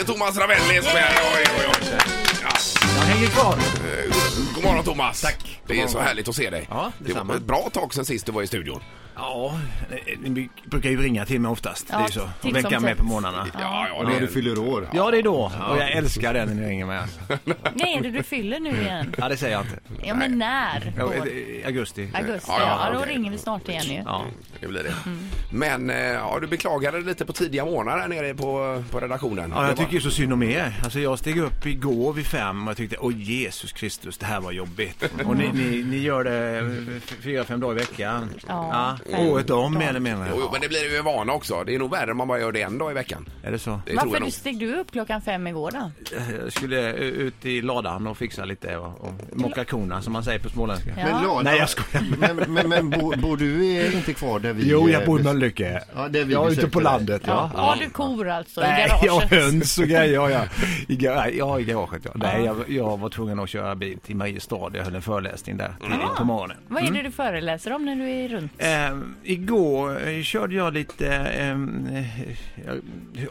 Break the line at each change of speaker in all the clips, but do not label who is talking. är Thomas Ravelli som är här. Oj, oj, oj. Ja.
Jag hänger kvar.
eh, God morgon Thomas.
Tack.
Det är så härligt att se dig.
Ja,
det
detsamma.
var ett bra tag sen sist du var i studion.
Ja, eh, ni brukar ju ringa till mig oftast. det är ju så.
titt
Och
som
väcka mig
tätt.
på morgnarna.
Ja, ja,
När
det
du
är...
fyller år.
Ja, det är då. Och jag älskar den när ni ringer mig. alltså.
När är det du fyller nu igen?
Ja, det säger jag inte.
Ja, men när?
Ja,
Vår.
eh, Augusti.
Augusti,
Ja,
ja.
ja,
då
okej.
ringer vi snart igen ju.
Ja.
Det blir det.
Mm.
Men eh, ja, du beklagade dig lite på tidiga morgnar här nere på, på redaktionen.
Ja,
Det
jag
var-
tycker ju så synd om er. Alltså jag steg upp igår vid fem och jag tyckte, åh Jesus Kristus, det här var jobbigt. Och ni, ni, ni gör det f- fyra, fem dagar i veckan.
Ja, fem
Året om eller menar
Jo, jo,
jag.
men det blir ju en vana också. Det är nog värre om man bara gör det en dag i veckan.
Är det så?
Det tror
Varför
jag nog.
steg du upp klockan fem igår då?
Jag skulle eh, ut i ladan och fixa lite och, och mocka korna som man säger på småländska.
Ja.
Men Lada,
Nej, jag skojar.
Men, men, men bo, bor du eh, inte kvar där vi...
Jo, jag
eh,
bor i
bes-
Mölnlycke.
Ja, det vi
jag är ute
besökte
på
dig.
landet. Ja.
Ja. Har du kor alltså i
Nej, jag har
garaget?
höns och grejer. Ja, ja. I, gar- ja, i garaget. Ja. Nej, jag, jag var tvungen att köra bil till Mariestad. Jag höll en föreläsning där tidigt på morgonen.
Vad är det du föreläser om när du är runt?
Mm. Ehm, igår eh, körde jag lite ehm, eh,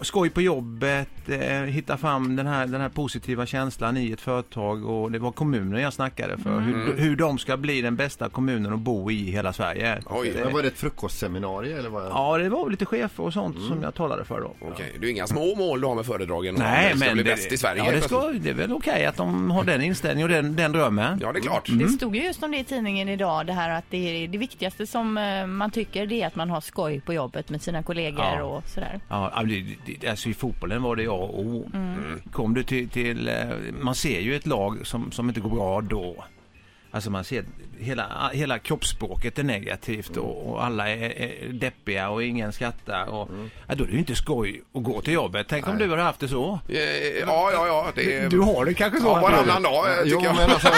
skoj på jobbet, eh, hitta fram den här, den här positiva känslan i ett företag och det var kommunen jag snackade för. Hur, hur de ska bli den bästa kommunen att bo i i hela Sverige.
Oj,
Men Var det ett frukostseminarium eller vad?
Ja, det var väl lite chefer och sånt som jag talade för då.
Okej, det är ju inga små mål du har med föredragen. om
Nej,
det ska
men
bli bäst i Sverige.
Ja, det, ska, det är väl okej att de har den inställningen och den, den drömmen.
ja, det är klart.
Mm.
Det stod ju just om det i tidningen idag, det här att det, är det viktigaste som eh, man tycker det är att man har skoj på jobbet med sina kollegor
Ja.
och sådär.
Ja, det- det- alltså i fotbollen var det A och O.
Mm.
Kom du till, till, eh, man ser ju ett lag som, som inte går bra då. Alltså man ser hela, hela kroppsspråket är negativt och, och alla är, är deppiga och ingen skrattar. Och,
Mm.
ja, då är det ju inte skoj att gå till jobbet. Tänk om du hade haft det så.
Eh, Ja, ja, ja. Det är...
Du har det kanske så.
Eh, Ja,
Anton?
varannan dag eh, tycker
Jo,
jag.
men alltså,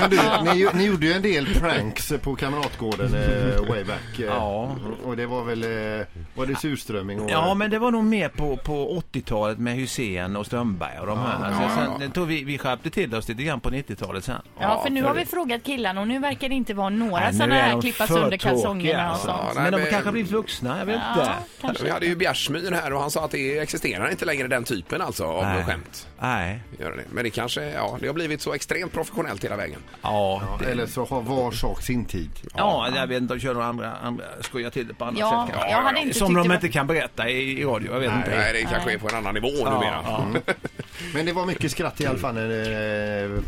men du, ni, ju- ni gjorde ju en del pranks på Kamratgården eh, way back. Eh,
Ja.
Och det var väl, eh, var det surströmming? Och,
Ja, men det var nog mer på, på 80-talet med Hussein och Strömberg och de här. Alltså,
ja, ja.
Sen, jag tror vi, vi skärpte till oss lite grann på 90-talet sen.
Ja, för nu har vi frågat killarna och nu verkar det inte vara några
Nej, nu
sådana
är
här
de
klippa
för
sönder
tråkiga,
kalsongerna och
alltså.
sånt.
nej,
men de
men-
kanske har blivit vuxna, jag vet
Ja,
inte.
kanske.
Vi hade ju Bjärsmyr här och han sa att det existerar inte längre den typen alltså av
Nej.
skämt.
Nej.
Gör det. Men det kanske, ja, det har blivit så extremt professionellt hela vägen.
Ja,
Ja,
det,
Eller så har var sak sin tid.
ja, jag vet inte, de kör några andra, andra skojar till det på andra
Ja,
sätt kanske.
jag hade inte
Som
tyckt det
de
var-
inte kan berätta i, i radio, jag vet inte.
Nej, det kanske är på en annan nivå numera.
Men det var mycket skratt i alla fall eh,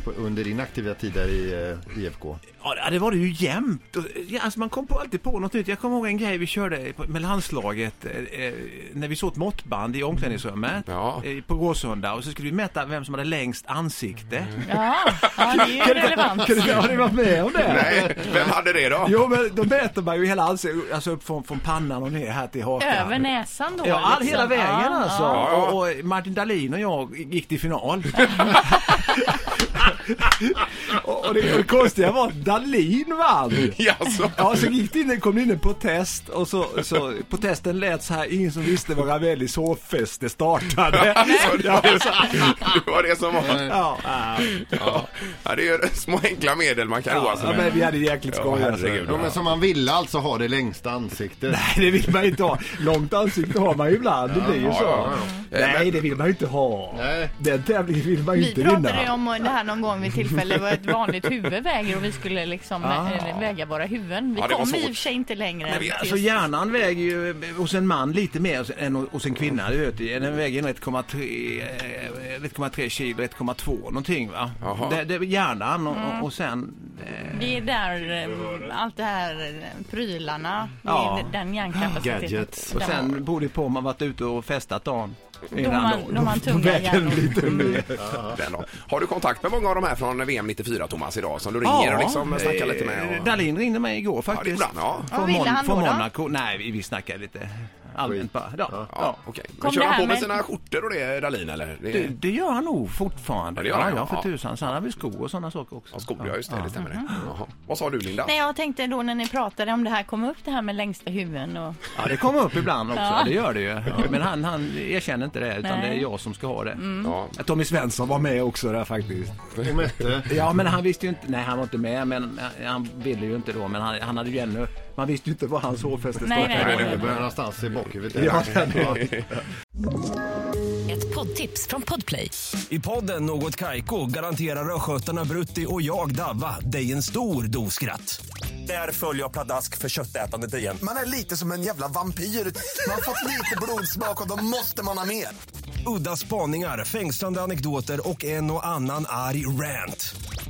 på- under din aktiva tid där i eh, IFK.
Ja, det var det ju jämt. Och, ja, Alltså, man kom på alltid på något nytt. Jag kommer ihåg en grej vi körde på- med landslaget. eh, eh, När vi såg ett måttband i omklädningsrummet
Ja.
eh, på Råsunda och så skulle vi mäta vem som hade längst ansikte.
Mm.
Ja, ja, det är ju relevant.
Kan du- Har ni varit med om det?
Nej, vem hade det då?
Jo men då mäter man ju hela ansiktet, alltså upp från, från pannan och ner här till hakan.
Över näsan då.
Ja, all,
liksom.
hela vägen
Ja,
alltså.
ja.
ja.
Och, och Martin Dahlin och jag gick till final. och, och det, och det konstiga var att Dahlin vann.
Jaså?
Ja, så gick det in, kom det in en protest och så, så protesten lät så här, ingen som visste var Ravellis hårfäste startade.
Alltså, det,
ja,
var, det var det som var...
ja, ja,
Ja, det är ju små enkla medel man kan roa sig
ja,
med.
men vi hade jäkligt
alltså, Ja,
skoj alltså.
herregud.
Ja, men som man ville alltså ha det längsta ansiktet.
Nej, det vill man inte ha. Långt ansikte har man ju ibland, det blir ju
ja,
så.
ja,
Nej, det vill man ju inte ha.
Nej.
Den tävlingen vill man ju
Vi
inte
pratade ju om det här någon gång vid tillfälle vad ett vanligt huvud väger och vi skulle liksom
Ah.
eh, väga våra huvuden. Vi
Ja, det var
kom i och
svårt.
för sig inte längre.
Nej, men
än
alltså
till-
hjärnan väger ju eh, hos en man lite mer än hos en kvinna. Du vet, ju. den väger 1,3 eh, 1,3 kilo, 1,2 någonting va.
Jaha.
Det, det är hjärnan
Mm.
och, och sen... eh,
Det är där eh, allt det här eh, prylarna,
Ja.
det är den hjärnkapaciteten.
Gadgets.
Och
Den-
sen beror det på om man varit ute och festat dagen.
då har man, då har man tunga hjärnor.
Den då. Har du kontakt med många av de här från VM 94, Thomas, idag som du ringer och liksom snackar lite med? Och...
Eh, Dahlin ringde mig igår faktiskt.
ibland, ja.
Från,
Vad ville
Mon-
han
från
då, då?
Monaco. Nej, vi, vi snackade lite allmänt bara. Ja. Ja.
Ja, okej. Men
Kom
kör
det
han
här
på med
med-
sina skjortor och det, Dahlin, eller? Det...
Det, det gör han nog fortfarande.
Ja, det gör han,
ja,
ja.
för tusan. Så han har väl skor och sådana saker också.
Ja, skor, ja, just det. Det stämmer
Mm.
det. Jaha. Vad sa du, Linda?
Nej, jag tänkte då när ni pratade om det här, kom upp det här med längsta huvuden och
Ja, det kommer upp ibland också. Det gör det ju. Men han, han erkänner inte det, utan
Nej. Mm.
det är jag som ska ha det.
Ja.
Tommy Svensson var med också där faktiskt.
Och mätte.
Ja, men han visste ju inte. Nej, han var inte med, men han ville ju inte då. Men han, han hade ju ännu... Man visste ju inte var hans hårfäste
Nej,
stod.
nej.
Det börjar någonstans i bakhuvudet.
Ja,
Ja.
Ett Ett poddtips från Podplay.
I podden Något Kaiko garanterar östgötarna Brutti och jag, Davva, dig en stor dos skratt. Där följer jag pladask för köttätandet igen.
Man är lite som en jävla vampyr. Man har fått lite blodsmak och då måste man ha mer.
Udda spaningar, fängslande anekdoter och en och annan arg rant.